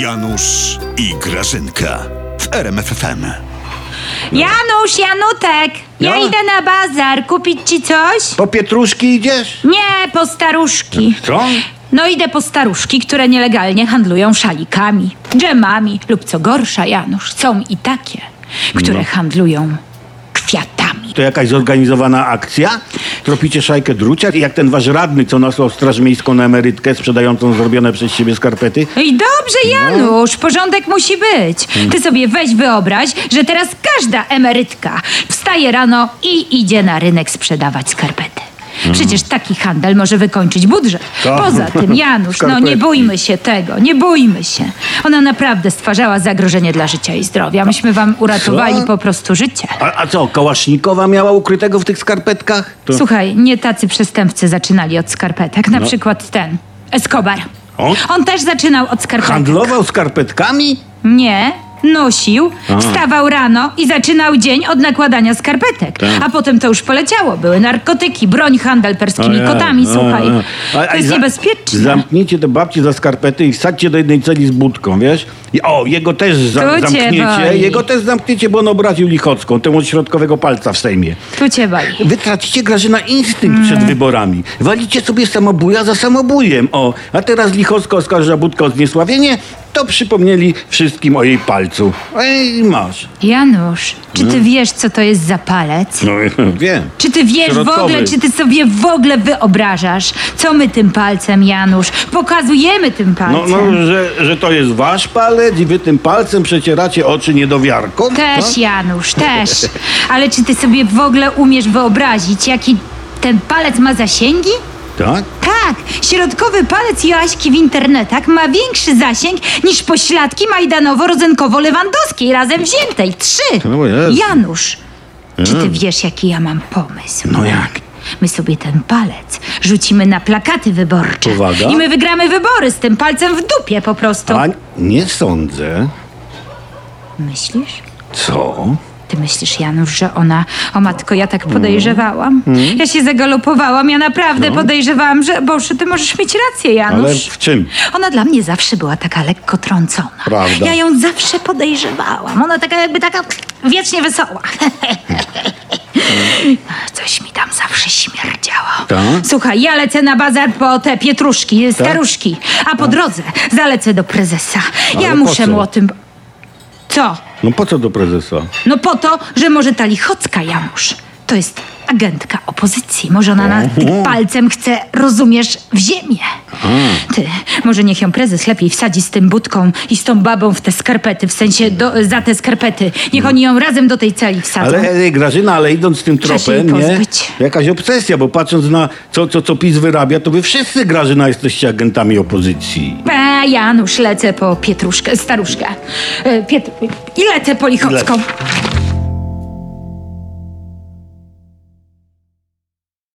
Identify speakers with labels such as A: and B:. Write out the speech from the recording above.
A: Janusz i Grażynka w RMFFM.
B: Janusz, Janutek, ja
C: No?
B: idę na bazar kupić ci coś.
C: Po pietruszki idziesz?
B: Nie, po staruszki.
C: Co?
B: No idę po staruszki, które nielegalnie handlują szalikami, dżemami lub co gorsza, Janusz, są i takie, które handlują kwiatami.
C: To jakaś zorganizowana akcja? Tropicie szajkę drucia? Jak ten wasz radny, co nasłał straż miejską na emerytkę sprzedającą zrobione przez siebie skarpety?
B: No I
C: No.
B: dobrze, Janusz, porządek musi być.
C: Hmm.
B: Ty sobie weź wyobraź, że teraz każda emerytka wstaje rano i idzie na rynek sprzedawać skarpety. Przecież taki handel może wykończyć budżet.
C: Hmm. To-
B: Poza tym, Janusz, no nie
C: Skarpetki.
B: bójmy się tego, nie bójmy się. Ona naprawdę stwarzała zagrożenie dla życia i zdrowia. Myśmy wam uratowali
C: Co?
B: po prostu życie.
C: A, a co, Kałasznikowa miała ukrytego w tych skarpetkach? To... No.
B: Słuchaj, nie tacy przestępcy zaczynali od skarpetek. Na przykład ten, Escobar.
C: On?
B: On też zaczynał od skarpetek.
C: Handlował skarpetkami?
B: Nie, nosił, wstawał rano i zaczynał dzień od nakładania skarpetek.
C: Tak.
B: A potem to już poleciało. Były narkotyki, broń, handel perskimi
C: Ojej,
B: kotami,
C: ojej,
B: słuchaj.
C: ojej. A-
B: To
C: a
B: jest
C: za-
B: niebezpieczne.
C: Zamknijcie te babci za skarpety i wsadźcie do jednej celi z budką, wiesz? I, o, jego też za-
B: Tu cię
C: zamkniecie.
B: boli.
C: Jego też zamkniecie, bo on obraził Lichocką, temu od środkowego palca w Sejmie.
B: Tu cię bali.
C: Wy tracicie Grażyna instynkt przed wyborami. Walicie sobie samobuja za samobujem. O, a teraz Lichocka oskarża Budkę o zniesławienie, to przypomnieli wszystkim o jej palcu. Ej, masz.
B: Janusz, czy ty wiesz, co to jest za palec?
C: No, wiem.
B: Czy ty wiesz w
C: Środkowy.
B: ogóle, czy ty sobie w ogóle wyobrażasz, co my tym palcem, Janusz, pokazujemy tym
C: No,
B: palcem?
C: no że, że to jest wasz palec i wy tym palcem przecieracie oczy niedowiarką.
B: Też, Janusz, też. Ale czy ty sobie w ogóle umiesz wyobrazić, jaki ten palec ma zasięgi?
C: Tak?
B: Tak, środkowy palec Joaśki w internetach ma większy zasięg niż pośladki majdanowo-rozenkowo-lewandowskiej razem wziętej. Trzy!
C: To jest.
B: Janusz, czy ty wiesz, jaki ja mam pomysł?
C: No jak?
B: My sobie ten palec rzucimy na plakaty wyborcze.
C: Uwaga.
B: I my wygramy wybory z tym palcem w dupie po prostu.
C: A nie sądzę.
B: Myślisz?
C: Co?
B: Ty myślisz, Janusz, że ona. O matko, ja
C: Mm.
B: tak podejrzewałam. Ja się zagalopowałam, ja naprawdę podejrzewałam, że. Boże, ty możesz mieć rację, Janusz.
C: No. Ale w czym?
B: Ona dla mnie zawsze była taka lekko trącona.
C: Prawda.
B: Ja ją zawsze podejrzewałam. Ona taka jakby taka wiecznie wesoła. Coś mi tam zawsze śmierdziało.
C: Tak?
B: Słuchaj, ja lecę na bazar po te pietruszki, staruszki, a po drodze zalecę do prezesa. Ja
C: Tak. Ale po
B: muszę
C: co?
B: mu o tym... Co?
C: No po co do prezesa?
B: No po to, że może ta lichocka Janusz to jest agentka opozycji. Może ona nas tym palcem chce, rozumiesz, w ziemię. Ty, może niech ją prezes lepiej wsadzi z tym budką i z tą babą w te skarpety, w sensie do, za te skarpety. Niech oni ją razem do tej celi wsadzą.
C: Ale ej, Grażyna, ale idąc tym
B: Trzeba się
C: tropem,
B: jej
C: nie?
B: pozbyć.
C: Jakaś obsesja, bo patrząc na co, co, co PiS wyrabia, to wy wszyscy, Grażyna, jesteście agentami opozycji.
B: A Janusz, lecę po Pietruszkę, staruszkę. E, Pietr... I lecę po lichocką.
C: Lecę.